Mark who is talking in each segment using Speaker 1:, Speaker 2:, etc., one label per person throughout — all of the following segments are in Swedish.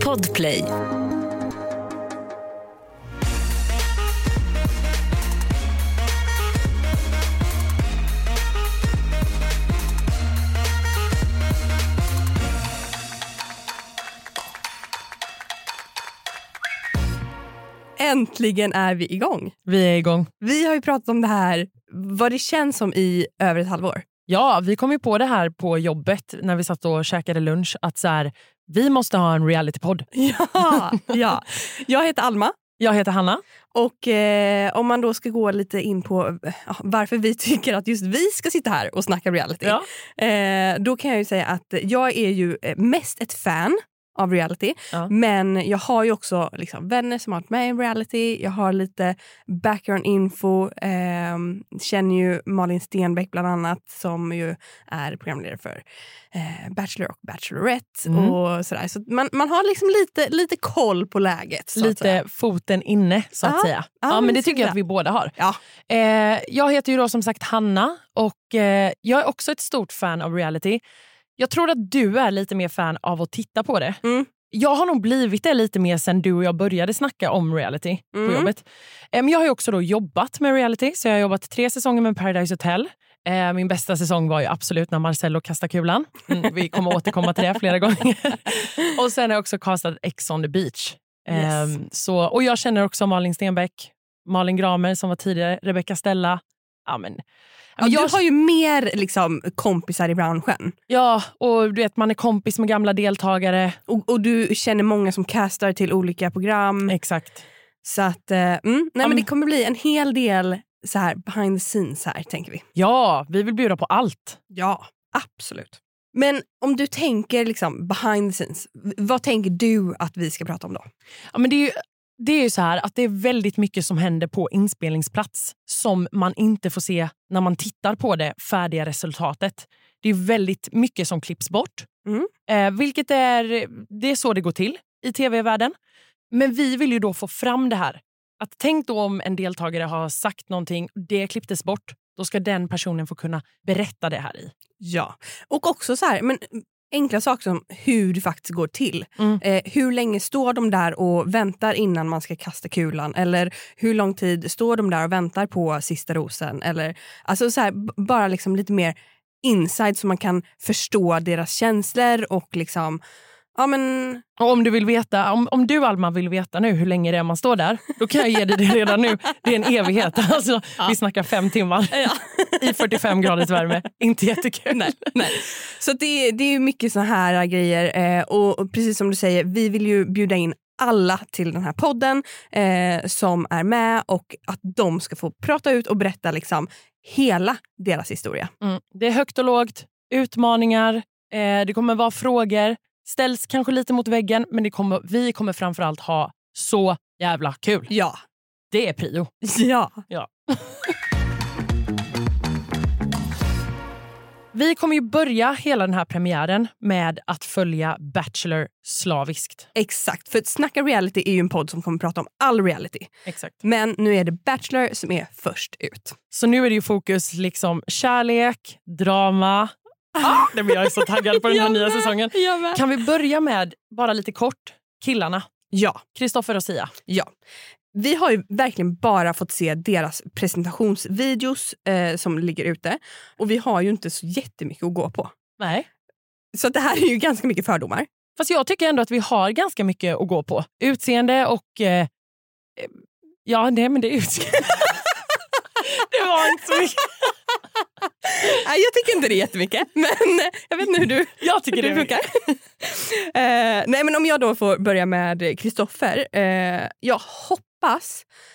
Speaker 1: Podplay.
Speaker 2: Äntligen är vi igång.
Speaker 3: Vi är igång.
Speaker 2: Vi har ju pratat om det här, vad det känns som i över ett halvår.
Speaker 3: Ja, vi kom ju på det här på jobbet när vi satt och käkade lunch att så här, vi måste ha en realitypodd.
Speaker 2: Ja, ja. Jag heter Alma
Speaker 3: Jag heter Hanna.
Speaker 2: och eh, om man då ska gå lite in på ja, varför vi tycker att just vi ska sitta här och snacka reality.
Speaker 3: Ja.
Speaker 2: Eh, då kan jag ju säga att jag är ju eh, mest ett fan av reality.
Speaker 3: Ja.
Speaker 2: Men jag har ju också liksom vänner som har varit med i reality. Jag har lite background info. ehm, känner ju Malin Stenbeck bland annat som ju är programledare för eh, Bachelor och Bachelorette.
Speaker 3: Mm.
Speaker 2: Och sådär. Så att man, man har liksom lite, lite koll på läget. Så Att säga.
Speaker 3: Lite foten inne så att
Speaker 2: Ja,
Speaker 3: säga.
Speaker 2: ja,
Speaker 3: Ja,
Speaker 2: men
Speaker 3: men
Speaker 2: det
Speaker 3: det tycker jag
Speaker 2: skulle
Speaker 3: att vi båda har.
Speaker 2: Ja.
Speaker 3: Eh, jag heter ju då som sagt Hanna och eh, jag är också ett stort fan av reality. Jag tror att du är lite mer fan av att titta på det.
Speaker 2: Mm.
Speaker 3: Jag har nog blivit det lite mer sen du och jag började snacka om reality
Speaker 2: Mm.
Speaker 3: på jobbet. Eh, men jag har ju också då jobbat med reality, så jag har jobbat tre säsonger med Paradise Hotel. Eh, Min bästa säsong var ju absolut när Marcello kastade kulan. Mm, vi kommer återkomma till det flera gånger. Och sen har jag också castat Ex on the beach.
Speaker 2: Yes.
Speaker 3: Ehm, så, och jag känner också Malin Stenbeck, Malin Gramer som var tidigare, Rebecca Stella. Ja, men, ja,
Speaker 2: Ja,
Speaker 3: men
Speaker 2: jag
Speaker 3: jag,
Speaker 2: har ju mer liksom, kompisar i branschen.
Speaker 3: ja, och du vet man är kompis med gamla deltagare.
Speaker 2: Och, och du känner många som castar till olika program.
Speaker 3: Exakt.
Speaker 2: Så att, eh, mm, nej, men
Speaker 3: men-
Speaker 2: det kommer bli en hel del så här behind the scenes här tänker vi.
Speaker 3: Ja, vi vill bjuda på allt.
Speaker 2: Ja, absolut. Men om du tänker liksom behind the scenes, v- vad tänker du att vi ska prata om då?
Speaker 3: Ja, men det är ju, det är ju så här att det är väldigt mycket som händer på inspelningsplats som man inte får se när man tittar på det färdiga resultatet. Det är väldigt mycket som klipps bort.
Speaker 2: Mm.
Speaker 3: Eh, vilket är, det är så det går till i tv-världen. Men vi vill ju då få fram det här. Att tänk då om en deltagare har sagt någonting, det klipptes bort. Då ska den personen få kunna berätta det här i.
Speaker 2: Ja, och också så här, men enkla saker som hur det faktiskt går till.
Speaker 3: Mm.
Speaker 2: Eh, hur länge står de där och väntar innan man ska kasta kulan? Eller hur lång tid står de där och väntar på sista rosen? Eller, alltså så här, b- bara liksom lite mer inside så man kan förstå deras känslor och liksom, ja men
Speaker 3: Och om du vill veta, om, om du Alma vill veta nu hur länge det är man står där, då kan jag ge dig det redan nu. Det är en evighet. Alltså, Vi snackar fem timmar i 45 graders värme. Inte jättekul.
Speaker 2: Nej, nej. Så att det, det är ju mycket såna här grejer. Eh, och, och precis som du säger, vi vill ju bjuda in alla till den här podden eh, som är med och att de ska få prata ut och berätta liksom hela deras historia.
Speaker 3: Mm. Det är högt och lågt, utmaningar, eh, det kommer vara frågor. Ställs kanske lite mot väggen, men det kommer, vi kommer framförallt ha så jävla kul.
Speaker 2: Ja.
Speaker 3: Det är prio.
Speaker 2: Ja.
Speaker 3: Vi kommer ju börja hela den här premiären med att följa Bachelor slaviskt.
Speaker 2: Exakt, för att Snacka reality är ju en podd som kommer prata om all reality.
Speaker 3: Exakt.
Speaker 2: Men nu är det Bachelor som är först ut.
Speaker 3: Så nu är det ju fokus liksom kärlek, drama. Ah, nej, men jag är så taggad på den här
Speaker 2: Jag
Speaker 3: nya
Speaker 2: med.
Speaker 3: säsongen. Kan vi börja med, bara lite kort, killarna?
Speaker 2: Ja,
Speaker 3: Kristoffer och Sia.
Speaker 2: ja. Vi har ju verkligen bara fått se deras presentationsvideos eh, som ligger ute och vi har ju inte så jättemycket att gå på.
Speaker 3: Nej.
Speaker 2: Så att det här är ju ganska mycket fördomar.
Speaker 3: Fast jag tycker ändå att vi har ganska mycket att gå på. Utseende och... Eh, eh, ja, nej men det är utseende. det var inte så mycket.
Speaker 2: Nej, jag tycker inte det är jättemycket, men eh, jag vet inte hur du,
Speaker 3: Jag
Speaker 2: hur
Speaker 3: tycker det
Speaker 2: du
Speaker 3: är
Speaker 2: funkar. eh, nej, men om jag då får börja med Kristoffer. Eh, jag hoppas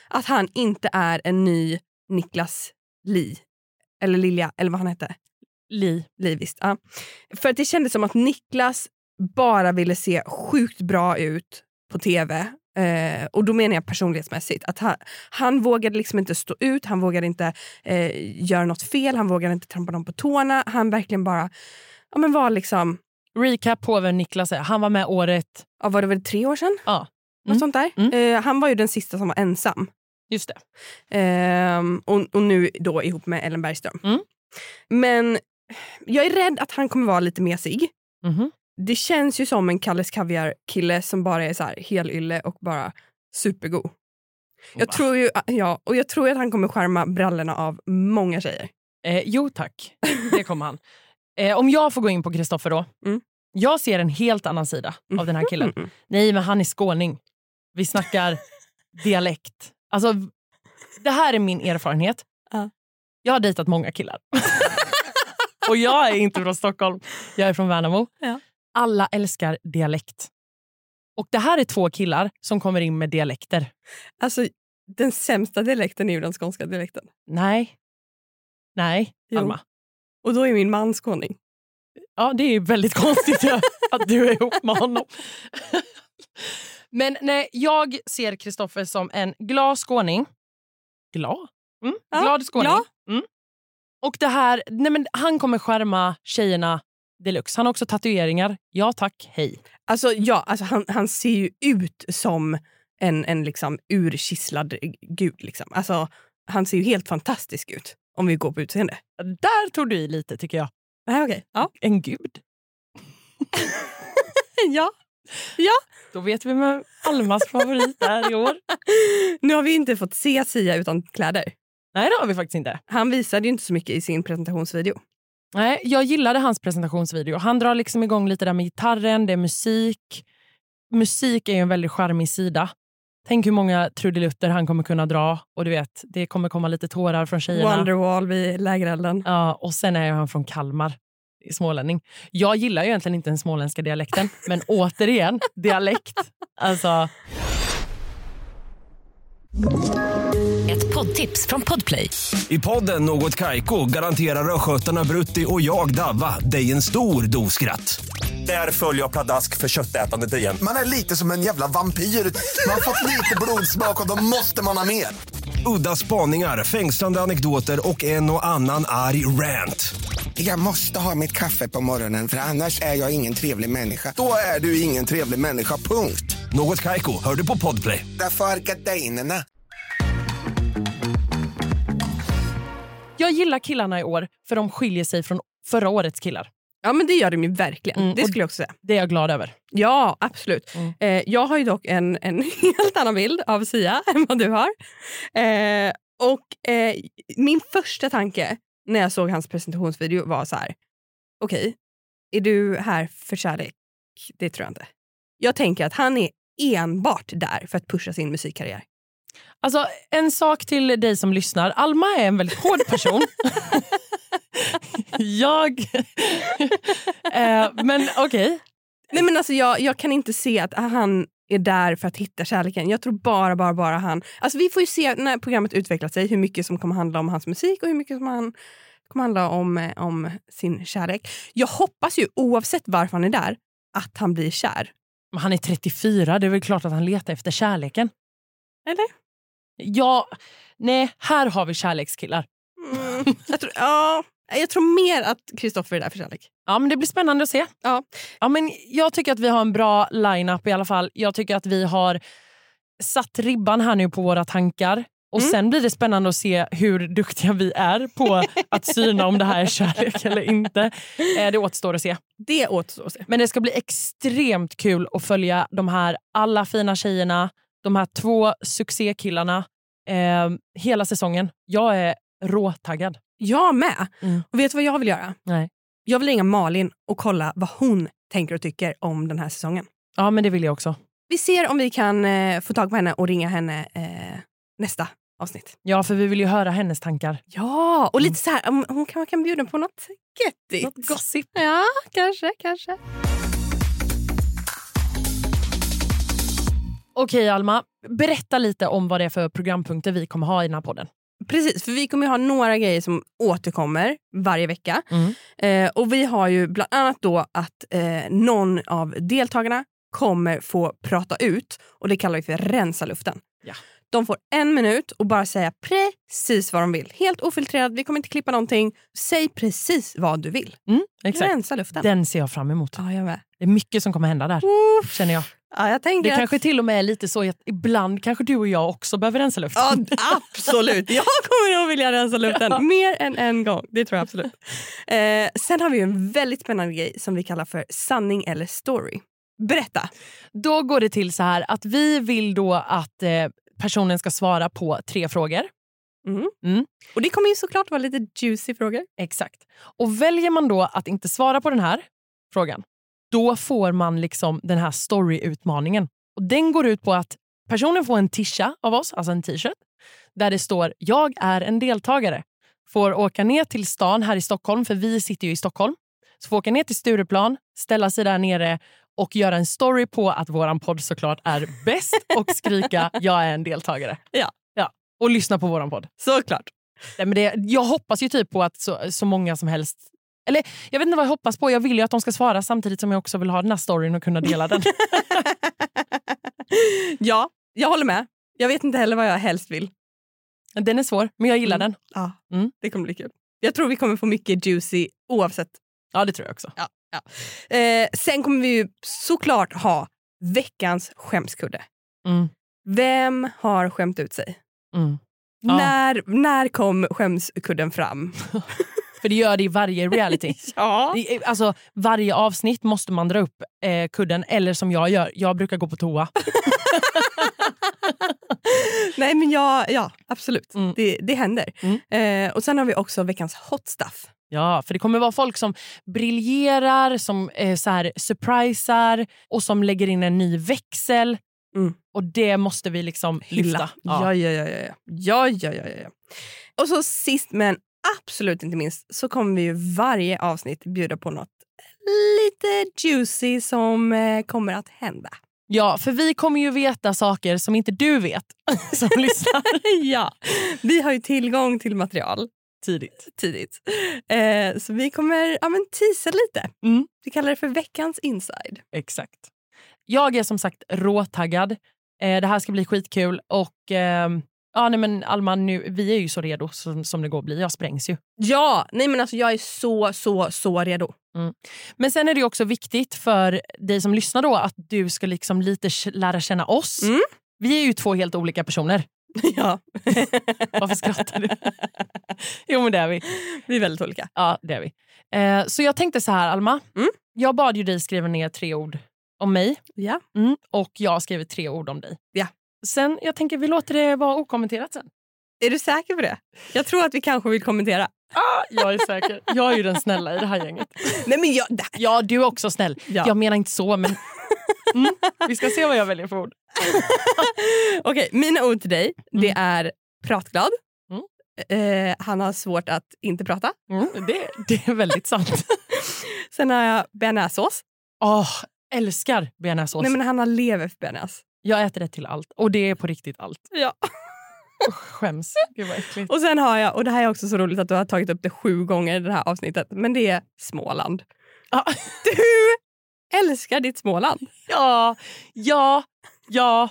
Speaker 2: att han inte är en ny Niklas Li. Eller Lilja, eller vad han hette.
Speaker 3: Li.
Speaker 2: Li, visst. Ja. För att det kändes som att Niklas bara ville se sjukt bra ut på tv. Eh, och då menar jag personlighetsmässigt. Att han, han vågade liksom inte stå ut, han vågade inte eh, göra något fel, han vågade inte trampa någon på tårna. Han verkligen bara ja, men var liksom,
Speaker 3: Recap på vem Niklas är. Han var med året...
Speaker 2: ja, var det väl tre år sedan?
Speaker 3: Ja.
Speaker 2: Något
Speaker 3: Mm.
Speaker 2: sånt där. Eh, han var ju den sista som var ensam.
Speaker 3: Just det.
Speaker 2: Ehm, och, och nu då ihop med Ellen Bergström.
Speaker 3: Mm.
Speaker 2: Men jag är rädd att han kommer vara lite mesig.
Speaker 3: Mhm.
Speaker 2: det känns ju som en Kalles Kaviar-kille som bara är så här helylle och bara supergod. Jag
Speaker 3: Va?
Speaker 2: tror ju ja, och jag tror att han kommer skärma brallorna av många tjejer.
Speaker 3: Eh, jo tack, det kommer han. Eh, om jag får gå in på Kristoffer då.
Speaker 2: Mm.
Speaker 3: Jag ser en helt annan sida av den här killen.
Speaker 2: Mm.
Speaker 3: Nej, men han är skåning. Vi snackar dialekt. Alltså, det här är min erfarenhet.
Speaker 2: Ja.
Speaker 3: Jag har dejtat många killar. Och jag är inte från Stockholm. Jag är från Värnamo.
Speaker 2: Ja.
Speaker 3: Alla älskar dialekt. Och det här är två killar som kommer in med dialekter.
Speaker 2: Alltså, den sämsta dialekten är ju den skånska dialekten.
Speaker 3: Nej. Nej,
Speaker 2: Jo.
Speaker 3: Alma.
Speaker 2: Och då är min man skåning.
Speaker 3: Ja, det är väldigt konstigt att du är ihop med honom. Men nej, jag ser Kristoffer som en glad skåning. Glad? Mm,
Speaker 2: Ja,
Speaker 3: glad skåning.
Speaker 2: glad.
Speaker 3: Mm. Och det här, nej men han kommer skärma tjejerna deluxe. Han har också tatueringar. Ja tack, hej.
Speaker 2: Alltså, ja, alltså han, han ser ju ut som en, en liksom urkisslad gud. Liksom. Alltså, han ser ju helt fantastisk ut om vi går på utseende.
Speaker 3: Där tog du i lite tycker jag.
Speaker 2: Nej, okej. Ja.
Speaker 3: En gud.
Speaker 2: ja.
Speaker 3: Då vet vi vem Almas favorit är i år.
Speaker 2: Nu har vi inte fått se Sia utan kläder.
Speaker 3: Nej, det har vi faktiskt inte.
Speaker 2: Han visade ju inte så mycket i sin presentationsvideo.
Speaker 3: Nej, jag gillade hans presentationsvideo. Han drar liksom igång lite där med gitarren, det är musik. Musik är ju en väldigt charmig sida. Tänk hur många trudelutter han kommer kunna dra. Och du vet, Det kommer komma lite tårar från tjejerna.
Speaker 2: Wonderwall vid lägerelden.
Speaker 3: Ja, och sen är han från Kalmar, smålänning. Jag gillar ju egentligen inte den småländska dialekten, men återigen, dialekt. Alltså,
Speaker 1: Ett poddtips från Podplay.
Speaker 4: I podden Något Kaiko garanterar östgötarna Brutti och jag, Davva, dig en stor dos skratt. Där följer jag pladask för köttätandet igen.
Speaker 5: Man är lite som en jävla vampyr. Man har fått lite blodsmak och då måste man ha mer.
Speaker 4: Udda spaningar, fängslande anekdoter och en och annan arg rant.
Speaker 6: Jag måste ha mitt kaffe på morgonen för annars är jag ingen trevlig människa.
Speaker 5: Då är du ingen trevlig människa, punkt.
Speaker 4: Något Kaiko, hör du på Podplay.
Speaker 5: Därför är gardinerna.
Speaker 3: jag gillar killarna i år, för de skiljer sig från förra årets killar.
Speaker 2: Ja, men det gör de ju verkligen.
Speaker 3: Mm,
Speaker 2: det
Speaker 3: och-
Speaker 2: skulle jag också säga.
Speaker 3: Det är jag glad över.
Speaker 2: Ja, absolut.
Speaker 3: Mm.
Speaker 2: Eh, jag har ju dock en, en helt annan bild av Sia än vad du har. Eh, och eh, min första tanke när jag såg hans presentationsvideo var så här. Okej, är du här för kärlek? Det tror jag inte. Jag tänker att han är enbart där för att pusha sin musikkarriär.
Speaker 3: Alltså, en sak till dig som lyssnar. Alma är en väldigt hård person. jag... eh, men okej.
Speaker 2: Nej, men alltså, jag, jag kan inte se att han är där för att hitta kärleken. Jag tror bara, bara, bara han... Alltså, vi får ju se när programmet utvecklar sig hur mycket som kommer handla om hans musik och hur mycket som han kommer handla om, eh, om sin kärlek. Jag hoppas ju, oavsett varför han är där, att han blir kär.
Speaker 3: Men Han är 34, det är väl klart att han letar efter kärleken.
Speaker 2: Eller?
Speaker 3: Ja, nej, här har vi kärlekskillar.
Speaker 2: Mm, jag, tror, ja, jag tror mer att Kristoffer är där för kärlek.
Speaker 3: Ja, men Det blir spännande att se.
Speaker 2: Ja.
Speaker 3: Ja, men jag tycker att vi har en bra line-up i alla fall. Jag tycker att vi har satt ribban här nu på våra tankar. Och
Speaker 2: Mm.
Speaker 3: Sen blir det spännande att se hur duktiga vi är på att syna om det här är kärlek eller inte. Eh, Det återstår att se.
Speaker 2: Det återstår att se.
Speaker 3: Men det ska bli extremt kul att följa de här alla fina tjejerna, de här två succékillarna eh, hela säsongen. Jag är råtaggad.
Speaker 2: Jag med.
Speaker 3: Mm.
Speaker 2: Och vet du vad jag vill göra?
Speaker 3: Nej.
Speaker 2: Jag vill ringa Malin och kolla vad hon tänker och tycker om den här säsongen.
Speaker 3: Ja, men det vill jag också.
Speaker 2: Vi ser om vi kan eh, få tag på henne och ringa henne eh, nästa avsnitt.
Speaker 3: Ja, för vi vill ju höra hennes tankar.
Speaker 2: Ja, och lite så här, om hon kan, man kan bjuda på något göttigt.
Speaker 3: Något gossip.
Speaker 2: Ja, kanske, kanske.
Speaker 3: Okej, Alma. Berätta lite om vad det är för programpunkter vi kommer ha i den här podden.
Speaker 2: Precis, för vi kommer ju ha några grejer som återkommer varje vecka.
Speaker 3: Mm.
Speaker 2: Eh, och vi har ju bland annat då att eh, någon av deltagarna kommer få prata ut och det kallar vi för rensa luften.
Speaker 3: Ja.
Speaker 2: De får en minut och bara säga precis vad de vill. Helt ofiltrerat, vi kommer inte klippa någonting. Säg precis vad du vill.
Speaker 3: Mm, exakt.
Speaker 2: Rensa luften.
Speaker 3: Den ser jag fram emot.
Speaker 2: Ja, jag med.
Speaker 3: Det är mycket som kommer hända där. Känner jag.
Speaker 2: Ja, jag tänker
Speaker 3: Det
Speaker 2: att-
Speaker 3: kanske till och med är lite så att ibland kanske du och jag också behöver rensa luften.
Speaker 2: Ja, absolut. Jag kommer nog vilja rensa luften mer än en gång. Det tror jag absolut. Eh, sen har vi ju en väldigt spännande grej som vi kallar för sanning eller story. Berätta.
Speaker 3: Då går det till så här att vi vill då att eh, personen ska svara på tre frågor.
Speaker 2: Och det kommer ju såklart vara lite juicy frågor.
Speaker 3: Exakt. Och väljer man då att inte svara på den här frågan, då får man liksom den här story-utmaningen. Och den går ut på att personen får en tisha av oss, alltså en t-shirt, där det står “Jag är en deltagare”. Får åka ner till stan här i Stockholm, för vi sitter ju i Stockholm. Så får åka ner till Stureplan, ställa sig där nere och göra en story på att våran podd såklart är bäst och skrika “Jag är en deltagare”.
Speaker 2: Ja.
Speaker 3: ja. Och lyssna på våran podd.
Speaker 2: Såklart.
Speaker 3: Nej, men det, jag hoppas ju typ på att så, så många som helst... Eller jag vet inte vad jag hoppas på. Jag vill ju att de ska svara samtidigt som jag också vill ha den här storyn och kunna dela den.
Speaker 2: ja, jag håller med. Jag vet inte heller vad jag helst vill.
Speaker 3: Den är svår, men jag gillar den.
Speaker 2: Ja,
Speaker 3: Mm.
Speaker 2: Det kommer bli kul. Jag tror vi kommer få mycket juicy oavsett.
Speaker 3: Ja, det tror jag också.
Speaker 2: Eh, sen kommer vi ju såklart ha veckans skämskudde.
Speaker 3: Mm.
Speaker 2: Vem har skämt ut sig?
Speaker 3: Mm. Ja.
Speaker 2: När, när kom skämskudden fram?
Speaker 3: För det gör det i varje reality.
Speaker 2: Ja.
Speaker 3: Det är- Alltså, varje avsnitt måste man dra upp eh, kudden, eller som jag gör, jag brukar gå på toa.
Speaker 2: Nej, men ja, ja absolut.
Speaker 3: Mm.
Speaker 2: Det, det händer. Eh, och Sen har vi också veckans hot stuff.
Speaker 3: Ja, för det kommer vara folk som briljerar, som eh, så här, surprisar och som lägger in en ny växel.
Speaker 2: Mm.
Speaker 3: Och det måste vi liksom lyfta.
Speaker 2: Ja. Ja, ja, ja, ja. Ja, ja, ja, ja, ja. Och så sist men absolut inte minst så kommer vi ju varje avsnitt bjuda på något lite juicy som eh, kommer att hända.
Speaker 3: Ja, för vi kommer ju veta saker som inte du vet som lyssnar.
Speaker 2: ja, vi har ju tillgång till material
Speaker 3: Tidigt.
Speaker 2: tidigt. Eh, så vi kommer ja, men teasa lite.
Speaker 3: Mm.
Speaker 2: Vi kallar det för veckans inside.
Speaker 3: Exakt. Jag är som sagt råtaggad. Eh, det här ska bli skitkul. Och ehm, ja, nej men Alma, nu, vi är ju så redo som, som det går att bli. Jag sprängs ju.
Speaker 2: Ja, nej men alltså jag är så, så, så redo.
Speaker 3: Men sen är det ju också viktigt för dig som lyssnar då att du ska liksom lite k- lära känna oss.
Speaker 2: Mm.
Speaker 3: Vi är ju två helt olika personer.
Speaker 2: Ja,
Speaker 3: Varför skrattar du? jo, men det är vi.
Speaker 2: vi är väldigt olika.
Speaker 3: Ja, det är vi. Eh, så jag tänkte så här, Alma.
Speaker 2: Mm.
Speaker 3: Jag bad ju dig skriva ner tre ord om mig.
Speaker 2: Ja.
Speaker 3: Mm, och jag har skrivit tre ord om dig.
Speaker 2: Ja.
Speaker 3: Sen, jag tänker vi låter det vara okommenterat sen.
Speaker 2: Är du säker på det? Jag tror att vi kanske vill kommentera.
Speaker 3: Ah, Jag är säker. Jag är ju den snälla i det här gänget.
Speaker 2: Nej men jag... där.
Speaker 3: Ja, du är också snäll.
Speaker 2: Ja.
Speaker 3: Jag menar inte så, men... Mm, vi ska se vad jag väljer för ord.
Speaker 2: Okej, mina ord till dig det är pratglad.
Speaker 3: Mm.
Speaker 2: Eh, han har svårt att inte prata.
Speaker 3: Mm, det, det är väldigt sant.
Speaker 2: Sen har jag bearnaisesås.
Speaker 3: Åh, älskar bearnaisesås.
Speaker 2: Nej men han har lever för bearnaise.
Speaker 3: Jag äter det till allt. Och det är på riktigt allt.
Speaker 2: Ja.
Speaker 3: Usch, skäms. Gud vad äckligt.
Speaker 2: Och sen har jag, och det här är också så roligt att du har tagit upp det sju gånger i det här avsnittet, men det är Småland.
Speaker 3: Ja.
Speaker 2: Du älskar ditt Småland.
Speaker 3: Ja, ja, ja.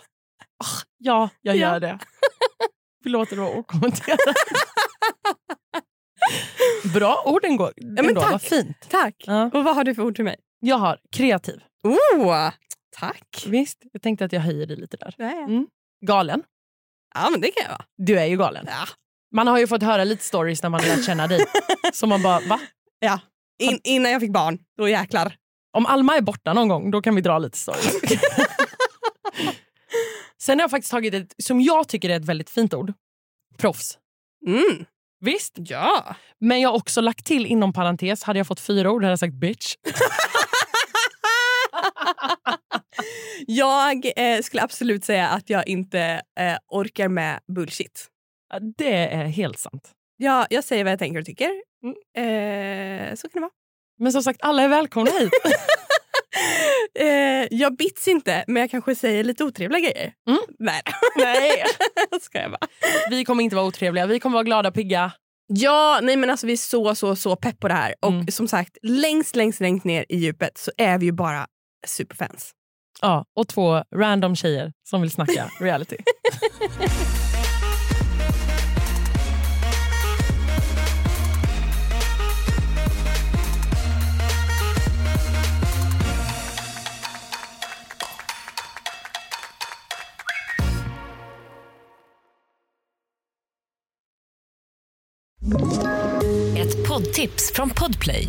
Speaker 3: Ah, ja, jag
Speaker 2: Ja.
Speaker 3: gör det. Vi låter det vara okommenterat. Bra orden går. Ja,
Speaker 2: men
Speaker 3: men
Speaker 2: tack.
Speaker 3: Vad fint.
Speaker 2: Tack.
Speaker 3: Ja.
Speaker 2: Och vad har du för ord till mig?
Speaker 3: Jag har kreativ.
Speaker 2: Oh, tack.
Speaker 3: Visst, jag tänkte att jag höjer dig lite där.
Speaker 2: Nej.
Speaker 3: Galen.
Speaker 2: Ja, men det kan jag vara.
Speaker 3: Du är ju galen.
Speaker 2: Ja.
Speaker 3: Man har ju fått höra lite stories när man har lärt känna dig. Så man bara, va?
Speaker 2: In, innan jag fick barn, då jäklar.
Speaker 3: Om Alma är borta någon gång, då kan vi dra lite stories. Sen har jag faktiskt tagit ett som jag tycker är ett väldigt fint ord. Proffs.
Speaker 2: Mm.
Speaker 3: Visst?
Speaker 2: Ja.
Speaker 3: Men jag har också lagt till inom parentes, hade jag fått fyra ord hade jag sagt bitch.
Speaker 2: Jag eh, skulle absolut säga att jag inte eh, orkar med bullshit.
Speaker 3: Ja, Det är helt sant.
Speaker 2: Jag, jag säger vad jag tänker och tycker. Mm, Eh, så kan det vara.
Speaker 3: Men som sagt, alla är välkomna hit.
Speaker 2: Eh, jag bits inte, men jag kanske säger lite otrevliga grejer.
Speaker 3: Mm.
Speaker 2: Nej,
Speaker 3: Nej.
Speaker 2: ska jag bara.
Speaker 3: Vi kommer inte vara otrevliga, vi kommer vara glada och pigga.
Speaker 2: Ja, nej men alltså vi är så, så, så pepp på det här. Och
Speaker 3: Mm.
Speaker 2: som sagt, längst, längst, längst ner i djupet så är vi ju bara superfans.
Speaker 3: Ja, och två random tjejer som vill snacka reality.
Speaker 7: Ett poddtips från Podplay.